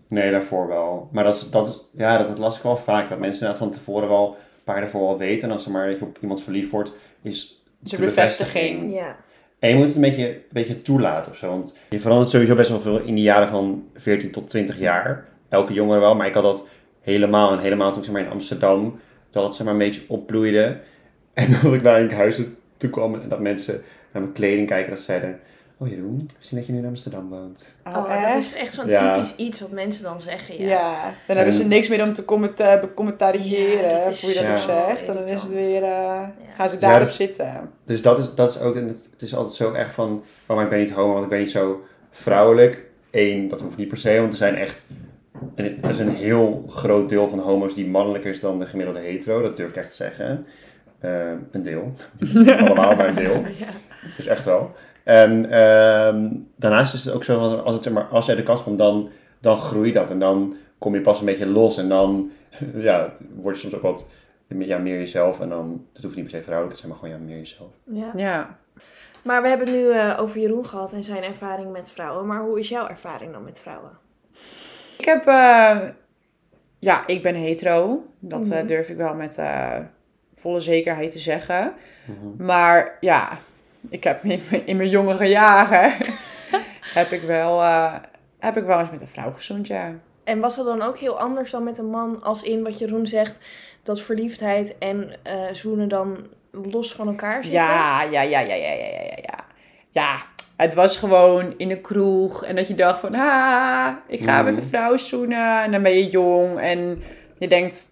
S3: nee, daarvoor wel. Maar dat, is, dat, is, ja, dat, dat las ik wel vaak. Dat mensen inderdaad van tevoren wel, een paar jaar daarvoor al weten. En als ze maar dat je op iemand verliefd wordt, is
S1: Dus een
S3: de
S1: bevestiging.
S4: Ja.
S3: En je moet het een beetje, een beetje toelaten of zo. Want je verandert sowieso best wel veel in de jaren van 14 tot 20 jaar. Elke jongere wel, maar ik had dat helemaal. En helemaal toen ik zeg maar, in Amsterdam, dat het zeg maar, een beetje opbloeide. (laughs) En dat ik naar een huis toe kwam en dat mensen naar mijn kleding kijken. Dat ze zeiden, oh Jeroen, we zien dat je nu in Amsterdam woont.
S4: Oh, dat is echt zo'n
S3: Ja.
S4: typisch iets wat mensen dan zeggen.
S1: Ja.
S4: Ja.
S1: dan hebben ze
S3: En-
S1: niks meer om te commenta- becommentariëren,
S4: Ja, dat is
S1: hoe je dat
S3: zo
S1: ook zegt. En dan is het
S4: irritant.
S1: weer, eh, gaan ze
S3: Ja,
S1: daarop
S3: dat-
S1: zitten.
S3: Dus dat is, dat is ook, en het, het is altijd zo erg van, oh maar ik ben niet homo, want ik ben niet zo vrouwelijk. Eén, dat hoeft niet per se, want er zijn echt, en er is een heel groot deel van homo's die mannelijker is dan de gemiddelde hetero, dat durf ik echt te zeggen. Ehm, een deel, niet allemaal, maar een deel.
S4: Ja.
S3: Dus echt wel. En ehm, daarnaast is het ook zo van, als, het, zeg maar, als je uit de kast komt, dan, dan groeit dat. En dan kom je pas een beetje los. En dan (laughs) ja, word je soms ook wat ja, meer jezelf. En dan, dat hoeft niet per se vrouwelijk te zijn, maar gewoon ja, meer jezelf.
S4: Ja.
S1: Ja.
S4: Maar we hebben het nu eh, over Jeroen gehad en zijn ervaring met vrouwen. Maar hoe is jouw ervaring dan met vrouwen?
S1: Ik heb, eh, ja, ik ben hetero. Dat eh,
S4: Mhm.
S1: durf ik wel met eh, volle zekerheid te zeggen.
S3: Mhm.
S1: Maar ja, ik heb in mijn, in mijn jongere jaren (laughs) heb, ik wel, eh, heb ik wel eens met een vrouw gezoend, ja.
S4: En was dat dan ook heel anders dan met een man? Als in wat Jeroen zegt, dat verliefdheid en eh, zoenen dan los van elkaar zitten?
S1: Ja, ja, ja, ja, ja, ja, ja, ja, ja. Ja, het was gewoon in de kroeg en dat je dacht van, ah, ik ga
S3: Mhm.
S1: met een vrouw zoenen. En dan ben je jong en je denkt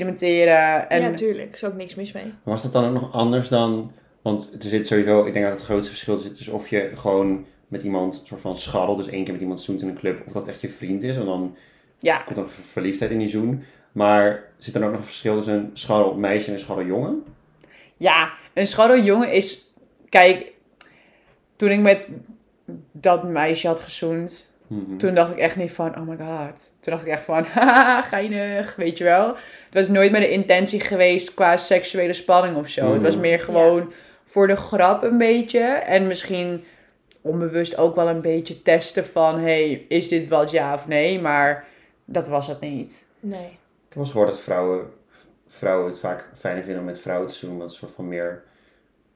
S1: experimenteren. En
S4: Ja, tuurlijk. Er is ook niks mis mee.
S3: Was dat dan ook nog anders dan... Want er zit sowieso, ik denk dat het grootste verschil zit tussen of je gewoon met iemand soort van scharrel, dus één keer met iemand zoent in een club, of dat echt je vriend is, en dan
S1: Ja.
S3: komt er verliefdheid in die zoen. Maar zit er dan ook nog een verschil tussen een scharrel meisje en een scharrel jongen?
S1: ja, een scharreljongen is, kijk, toen ik met dat meisje had gezoend,
S3: Mhm.
S1: Toen dacht ik echt niet van, oh my god. Toen dacht ik echt van, (laughs) haha, geinig, weet je wel. Het was nooit met de intentie geweest qua seksuele spanning of zo.
S3: Mhm.
S1: Het was meer gewoon voor de grap een beetje. En misschien onbewust ook wel een beetje testen van, hey, is dit wat ja of nee? Maar dat was het niet.
S4: Nee.
S3: Ik heb wel eens gehoord dat vrouwen, vrouwen het vaak fijner vinden om met vrouwen te zoenen. Omdat ze soort van meer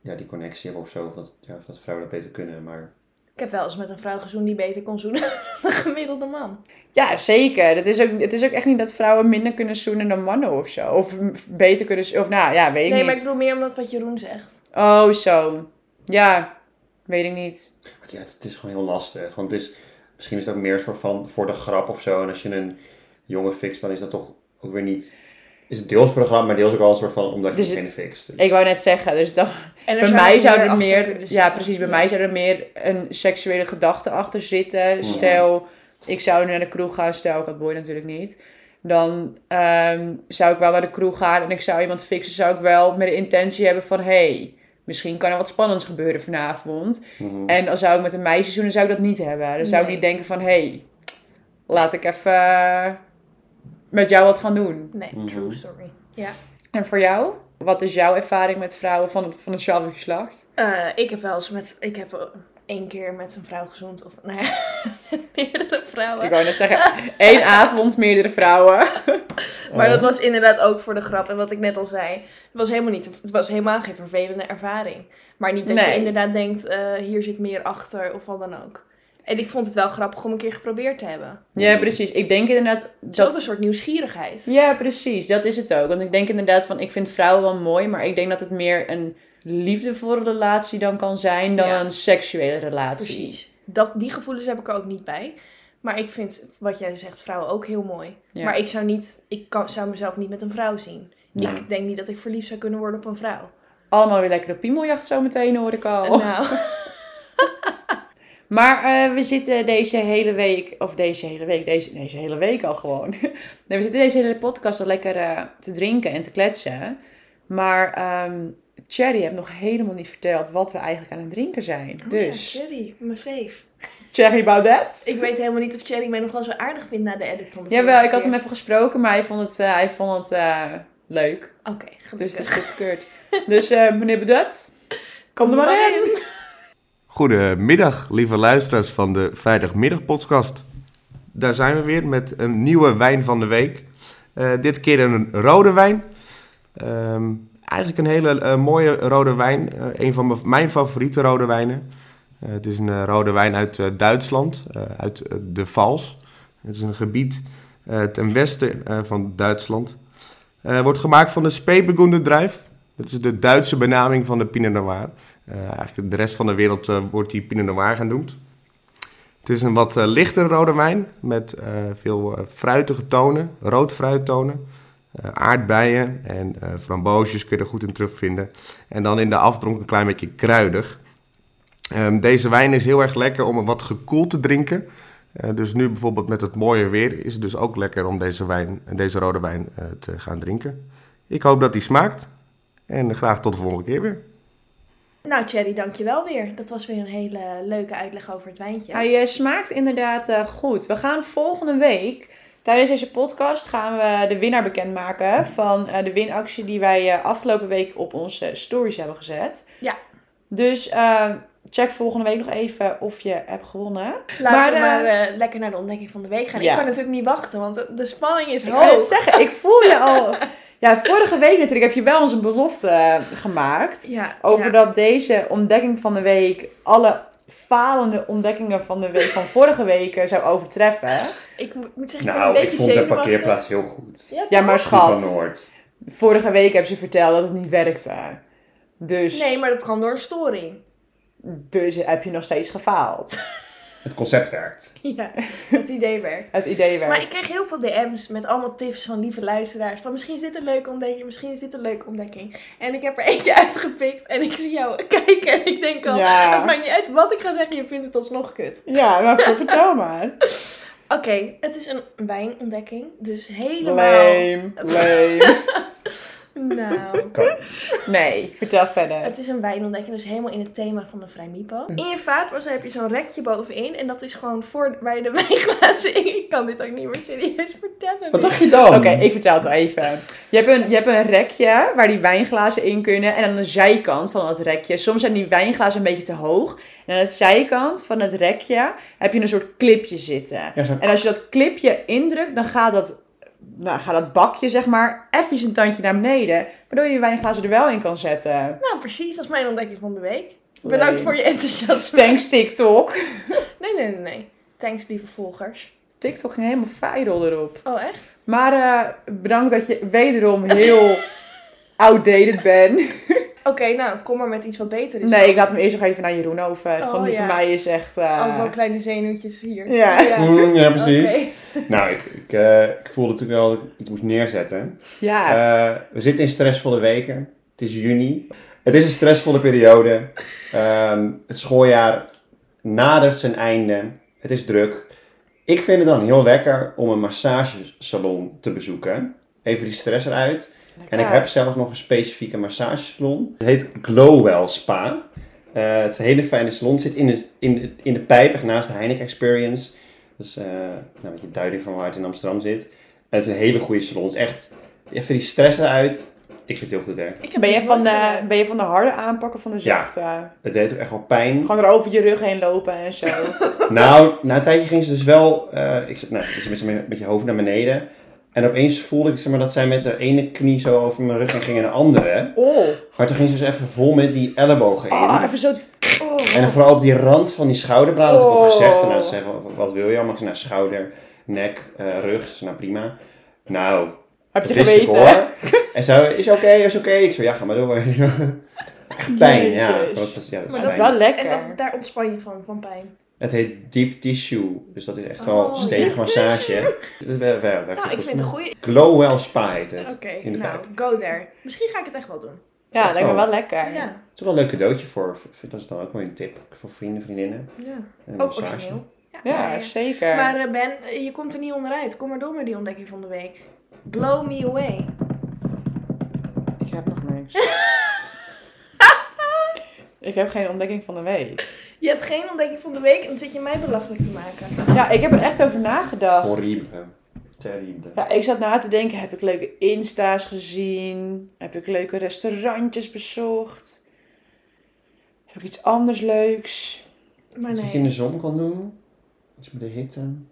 S3: ja, die connectie hebben of zo. Of dat, ja, of dat vrouwen dat beter kunnen. Maar
S4: Ik heb wel eens met een vrouw gezoend die beter kon zoenen (laughs) dan een gemiddelde man.
S1: Ja, zeker. Het is, ook, het is ook echt niet dat vrouwen minder kunnen zoenen dan mannen of zo. Of m- beter kunnen... z- Of nou, ja, weet ik
S4: nee, maar ik
S1: niet.
S4: bedoel meer omdat wat Jeroen zegt.
S1: Oh, zo. Ja, weet ik niet.
S3: maar ja, het, het is gewoon heel lastig. Want het is, misschien is dat meer soort van voor de grap of zo. En als je een jongen fixt, dan is dat toch ook weer niet... Is het deels voor de grap, maar deels ook wel een soort van omdat je
S1: Dus
S3: dus degene fixt. Dus-
S1: Ik wou net zeggen, dus
S4: (laughs)
S1: dan,
S4: En er
S1: bij mij zou
S4: er
S1: er
S4: achter
S1: meer,
S4: kunnen
S1: ja
S4: zitten.
S1: precies, bij
S4: Ja.
S1: mij zou er meer een seksuele gedachte achter zitten. Stel, ik zou naar de kroeg gaan, stel, ik had boy natuurlijk niet. Dan ehm, zou ik wel naar de kroeg gaan en ik zou iemand fixen, zou ik wel met de intentie hebben van, hey, misschien kan er wat spannends gebeuren vanavond.
S3: Mhm.
S1: En dan zou ik met een meisje zoenen, zou ik dat niet hebben. Dan zou ik
S4: Nee.
S1: niet denken van, hey, laat ik even eh, met jou wat gaan doen.
S4: Nee,
S3: Mhm.
S4: true story. Ja.
S1: En voor jou? Wat is jouw ervaring met vrouwen van het, van het hetzelfde geslacht?
S4: Eh, ik heb wel eens met... Ik heb eh, één keer met een vrouw gezoend. Of nou ja, (laughs) met meerdere
S1: Ik
S4: vrouwen.
S1: wou net
S4: (laughs)
S1: zeggen, één avond, meerdere vrouwen.
S4: Maar dat was inderdaad ook voor de grap. En wat ik net al zei. Het was helemaal, niet, het was helemaal geen vervelende ervaring. Maar niet dat je
S1: Nee.
S4: inderdaad denkt, eh, hier zit meer achter of wat dan ook. En ik vond het wel grappig om een keer geprobeerd te hebben.
S1: Ja, precies. Ik denk inderdaad
S4: Het is ook
S1: dat...
S4: een soort nieuwsgierigheid.
S1: Ja, precies. Dat is het ook. Want ik denk inderdaad van, ik vind vrouwen wel mooi, maar ik denk dat het meer een liefdevolle relatie dan kan zijn dan
S4: Ja.
S1: een seksuele relatie.
S4: Precies. Dat, die gevoelens heb ik er ook niet bij. Maar ik vind wat jij zegt, vrouwen ook heel mooi.
S1: Ja.
S4: Maar ik zou, niet, ik kan, zou mezelf niet met een vrouw zien.
S3: Nee.
S4: Ik denk niet dat ik verliefd zou kunnen worden op een vrouw.
S1: Allemaal weer lekkere piemeljacht zo meteen, hoor ik al.
S4: Nou,
S1: Maar eh, we zitten deze hele week, of deze hele week, deze, deze hele week al gewoon. (laughs) nee, we zitten deze hele podcast al lekker eh, te drinken en te kletsen. Maar ehm Cherry heeft nog helemaal niet verteld wat we eigenlijk aan het drinken zijn. (laughs) dus,
S4: Oh ja, Cherry, mijn veef.
S1: Cherry Baudet?
S4: Ik weet helemaal niet of Cherry mij nog wel zo aardig vindt na de edit van de
S1: Jawel,
S4: vorige
S1: ik had hem
S4: keer.
S1: even gesproken, maar hij vond het, eh, hij vond het eh, leuk.
S4: Oké,
S1: Dus
S4: gelukkig.
S1: het is goedgekeurd. dus eh, meneer Baudet, kom er maar in.
S5: Goedemiddag, lieve luisteraars van de Vrijdagmiddagpodcast. Daar zijn we weer met een nieuwe wijn van de week. Eh, dit keer een rode wijn. Ehm, eigenlijk een hele eh, mooie rode wijn. Eh, een van mijn- mijn favoriete rode wijnen. Eh, het is een eh, rode wijn uit eh, Duitsland, eh, uit eh, de Vals. Het is een gebied eh, ten westen eh, van Duitsland. Eh wordt gemaakt van de Spebegoende druif. Dat is de Duitse benaming van de Pinot Noir. Eh, eigenlijk de rest van de wereld eh, wordt die Pinot Noir genoemd. Het is een wat eh, lichtere rode wijn met eh, veel eh, fruitige tonen, rood fruittonen, eh, aardbeien en eh, framboosjes kun je er goed in terugvinden. En dan in de afdronk een klein beetje kruidig. Ehm, deze wijn is heel erg lekker om hem wat gekoeld te drinken. Eh, dus nu bijvoorbeeld met het mooie weer is het dus ook lekker om deze, wijn, deze rode wijn eh, te gaan drinken. Ik hoop dat die smaakt en graag tot de volgende keer weer.
S4: Nou, Cherry, dankjewel weer. Dat was weer een hele leuke uitleg over het wijntje.
S1: Hij eh, smaakt inderdaad eh, goed. We gaan volgende week, tijdens deze podcast, gaan we de winnaar bekendmaken van eh, de winactie die wij eh, afgelopen week op onze stories hebben gezet.
S4: Ja.
S1: Dus eh, check volgende week nog even of je hebt gewonnen.
S4: Laten
S1: Maar,
S4: we
S1: eh,
S4: maar eh, lekker naar de ontdekking van de week gaan.
S1: Ja.
S4: Ik kan natuurlijk niet wachten, want de, de spanning is
S1: Ik wil het
S4: hoog.
S1: zeggen, ik voel je al. Ja, vorige week natuurlijk heb je wel onze belofte eh, gemaakt.
S4: Ja,
S1: Over
S4: ja.
S1: dat deze ontdekking van de week alle falende ontdekkingen van de week van vorige week eh, zou overtreffen.
S4: Ik mo- moet zeggen, ik ben
S3: Nou, ik
S4: een beetje
S3: vond de
S4: zenuwachtig.
S3: parkeerplaats heel goed.
S1: Ja, maar
S3: Die van
S1: schat.
S3: Noord.
S1: Vorige week heb ze verteld dat het niet werkte. Dus,
S4: Nee, maar dat kan door een storing.
S1: dus heb je nog steeds gefaald.
S3: Het concept werkt.
S4: (laughs) Ja, dat idee werkt.
S1: Het idee werkt.
S4: Maar ik kreeg heel veel DM's met allemaal tips van lieve luisteraars. Van misschien is dit een leuke ontdekking, misschien is dit een leuke ontdekking. En ik heb er (laughs) eentje uitgepikt en ik zie jou (laughs) kijken en ik denk al... Het
S1: Ja.
S4: maakt niet uit wat ik ga zeggen, je vindt het alsnog kut.
S1: ja, maar voor- vertel maar.
S4: Oké, het is een wijnontdekking, dus helemaal (laughs)
S1: Lame, lame.
S4: Nou.
S1: Nee, vertel verder.
S4: Het is een wijnontdekking, dus helemaal in het thema van de Vrij Mipo. In je vaatwasser heb je zo'n rekje bovenin. En dat is gewoon voor waar je de (laughs) wijnglazen in... Ik kan dit ook niet meer serieus vertellen.
S3: Wat dacht je dan?
S1: Oké, ik vertel het wel even. Je hebt, een, je hebt een rekje waar die wijnglazen in kunnen. En aan de zijkant van dat rekje, soms zijn die wijnglazen een beetje te hoog. En aan de zijkant van het rekje heb je een soort clipje zitten.
S3: Ja, zo'n-
S1: En als je dat clipje indrukt, dan gaat dat, nou, gaat dat bakje, zeg maar, even een tandje naar beneden. Waardoor je je wijnglazen er wel in kan zetten.
S4: Nou, precies. Dat is mijn ontdekking van de week. Bedankt
S1: Leuk.
S4: voor je enthousiasme.
S1: Thanks TikTok.
S4: Nee, nee, nee, nee. Thanks, lieve volgers.
S1: TikTok ging helemaal viral erop.
S4: Oh, echt?
S1: Maar eh, bedankt dat je wederom
S4: (laughs)
S1: heel outdated bent.
S4: Oké, nou, kom maar met iets wat beter is.
S1: Nee, ik laat hem eerst nog even naar Jeroen over.
S4: Dus Oh,
S1: want die
S4: ja.
S1: van mij is echt... eh,
S4: Oh, wel kleine zenuwtjes hier.
S1: Ja.
S3: Mm, ja, (laughs)
S1: (laughs)
S3: precies.
S4: Oké.
S3: Nou, ik, ik, eh, ik voelde natuurlijk wel dat ik iets moest neerzetten.
S1: Ja,
S3: Eh, we zitten in stressvolle weken. Het is juni. Het is een stressvolle periode. Ehm, het schooljaar nadert zijn einde. Het is druk. Ik vind het dan heel lekker om een massagesalon te bezoeken. Even die stress eruit. En ik heb zelfs nog een specifieke massagesalon. Het heet Glowwell Spa. Eh, het is een hele fijne salon. zit in de, in, de- in de pijp, echt naast de Heineken Experience. Dus eh nou, met je duiding van waar het in Amsterdam zit. En het is een hele goede salon. Het is echt even die stress eruit. Ik vind het heel goed werk.
S4: Ik heb
S1: ben, je
S4: dit
S1: van
S4: nooit
S1: de,
S4: gedaan.
S1: ben je van de harde aanpak of van de
S3: Ja.
S1: zachte?
S3: Het deed ook echt wel pijn.
S1: Gewoon er over je rug heen lopen en zo.
S4: (laughs)
S3: Nou, na een tijdje ging ze dus wel. eh, ik zat nou, ik zat met, met je hoofd naar beneden. En opeens voelde ik zeg maar, dat zij met haar ene knie zo over mijn rug heen ging en de andere.
S1: Oh,
S3: Maar toen ging ze dus even vol met die ellebogen in.
S1: oh even zo...
S3: En dan vooral op die rand van die schouderbladen had ik ook
S1: Oh.
S3: gezegd. Van, nou, ze zei van, wat wil je allemaal? Ik zei, nou, schouder, nek, eh, rug. Ze zei, nou, prima. Nou,
S1: Heb je
S3: dat wist ik,
S1: geweten?
S3: hoor. En ze is oké, is oké. Ik zei, ja, ga maar door. (laughs) Echt pijn, ja.
S1: Jezus.
S3: Want dat is- ja, dat is
S1: Maar dat is
S3: pijn.
S1: wel lekker.
S4: En dat, daar ontspan je van, van pijn.
S3: Het heet Deep Tissue. Dus dat is echt wel
S4: Oh,
S3: stevig
S4: deep
S3: massage. Dat werkt echt
S4: Nou, ik
S3: goed.
S4: vind het een goeie.
S3: Glow Well Spa heet het.
S4: Oké,
S3: in de
S4: nou,
S3: pijp.
S4: go there. Misschien ga ik het echt wel doen.
S1: Ja,
S3: dat is
S1: lijkt me
S3: wel-
S1: wel lekker.
S4: Ja,
S3: Het is ook wel een leuk cadeautje voor, voor- dat is dan ook wel een tip voor vrienden, vriendinnen.
S4: ja.
S3: En een
S4: Ook
S3: massage.
S4: origineel.
S1: Ja, zeker.
S4: Maar eh, Ben, eh, je komt er niet onderuit. Kom maar door met die ontdekking van de week. Blow me away.
S1: Ik heb nog
S4: (laughs)
S1: niks. ik heb geen ontdekking van de week.
S4: Je hebt geen ontdekking van de week en dan zit je mij belachelijk te maken.
S1: Ja, ik heb er echt over nagedacht.
S3: Horrible. Terrible.
S1: Ja, ik zat na te denken, heb ik leuke insta's gezien? Heb ik leuke restaurantjes bezocht? Heb ik iets anders leuks?
S4: Maar
S3: Iets wat je in
S4: nee.
S3: de zon kan doen. Iets met de hitte.
S1: Een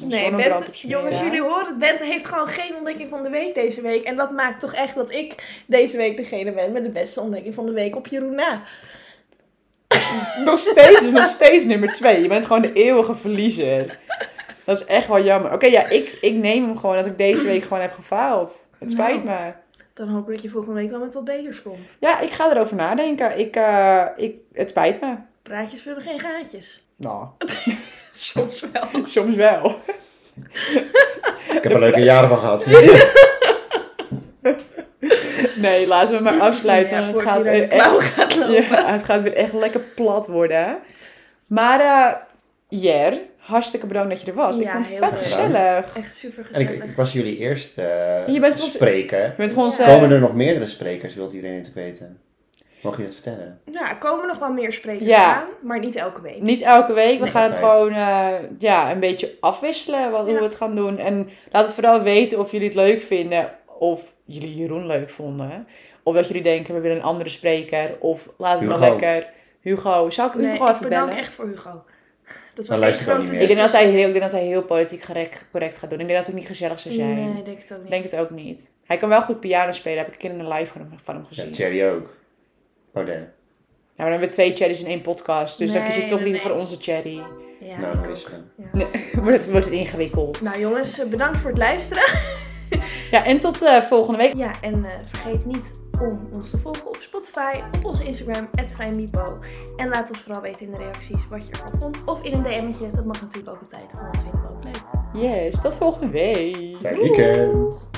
S4: Nee,
S1: zonnebrand
S4: Bent,
S1: op z'n
S4: jongens,
S1: middag.
S4: jullie horen het. Bent heeft gewoon geen ontdekking van de week deze week. En dat maakt toch echt dat ik deze week degene ben met de beste ontdekking van de week op Jeroen na.
S1: (laughs) Nog steeds, is nog steeds nummer twee. Je bent gewoon de eeuwige verliezer. Dat is echt wel jammer. Oké, ja, ik, ik neem hem gewoon dat ik deze week gewoon heb gefaald.
S4: Nou.
S1: Het spijt me.
S4: Dan hoop ik dat je volgende week wel met wat beters komt.
S1: Ja, ik ga erover nadenken. Ik, eh, ik, het spijt me.
S4: Praatjes vullen geen gaatjes. (laughs)
S1: Nou, (laughs)
S4: Soms wel.
S1: soms wel.
S3: Ik
S4: (laughs)
S3: heb er leuke jaren van gehad.
S1: Nee, laten we maar afsluiten.
S4: Ja,
S1: want het
S4: voordat
S1: gaat
S4: hij
S1: weer
S4: door de klauw
S1: echt,
S4: gaat
S1: (laughs)
S4: lopen.
S1: ja, het gaat weer echt lekker plat worden. Maar eh Jer, hartstikke bedankt dat je er was. ik
S4: Ja,
S1: vond het
S4: heel
S1: vet
S4: leuk.
S1: gezellig.
S4: Echt super
S3: (laughs) En ik,
S4: gezellig.
S3: ik was jullie eerste
S1: Je bent ons-
S3: spreker.
S1: Je bent gewoon
S4: Ja.
S1: eh,
S3: Komen er nog meerdere sprekers, wilt iedereen het weten? Mag je dat vertellen?
S4: Nou, er komen nog wel meer sprekers
S1: Ja.
S4: aan, maar niet elke week.
S1: Niet elke week. We
S4: Nee,
S1: gaan het
S3: altijd.
S1: gewoon eh, ja, een beetje afwisselen wat, hoe
S4: Ja.
S1: we het gaan doen. En laat het vooral weten of jullie het leuk vinden. Of jullie Jeroen leuk vonden. Of dat jullie denken, we willen een andere spreker. Of laat het wel
S3: Hugo.
S1: lekker. Hugo, zou ik Hugo
S4: Nee,
S1: gewoon
S4: ik
S1: even
S4: bedank
S1: bellen?
S4: echt voor Hugo. Dat
S3: Hij
S4: was echt
S3: luistert Nou, wel
S4: grote
S3: niet
S1: Ik,
S3: meer.
S1: denk dat hij heel, ik denk dat hij heel politiek correct, correct gaat doen. Ik denk dat het ook niet gezellig zou zijn.
S4: Nee, ik denk het ook
S1: Ik
S4: niet.
S1: denk het ook niet. Hij kan wel goed piano spelen. Heb ik een keer in een live van hem, van hem
S3: Ja,
S1: gezien. nou,
S3: Thierry ook. Oh, nee.
S1: maar dan hebben we twee cherries in één podcast. Dus dan
S4: Nee,
S1: kies ik toch
S4: nee,
S1: liever
S4: nee.
S1: voor onze cherry. (laughs)
S4: Ja,
S3: nou,
S4: ik
S3: dan is
S4: ook.
S3: het hem.
S4: Ja.
S1: wordt, het, wordt het ingewikkeld.
S4: Nou jongens, eh, bedankt voor het luisteren.
S1: Ja, en tot eh, volgende week.
S4: Ja, en eh, vergeet niet om ons te volgen op Spotify, op onze Instagram, @vrijmipo. En laat ons vooral weten in de reacties wat je ervan vond. Of in een DM'tje, dat mag natuurlijk ook altijd, want dat vinden we ook leuk.
S1: Yes, tot volgende week.
S3: Fijn weekend.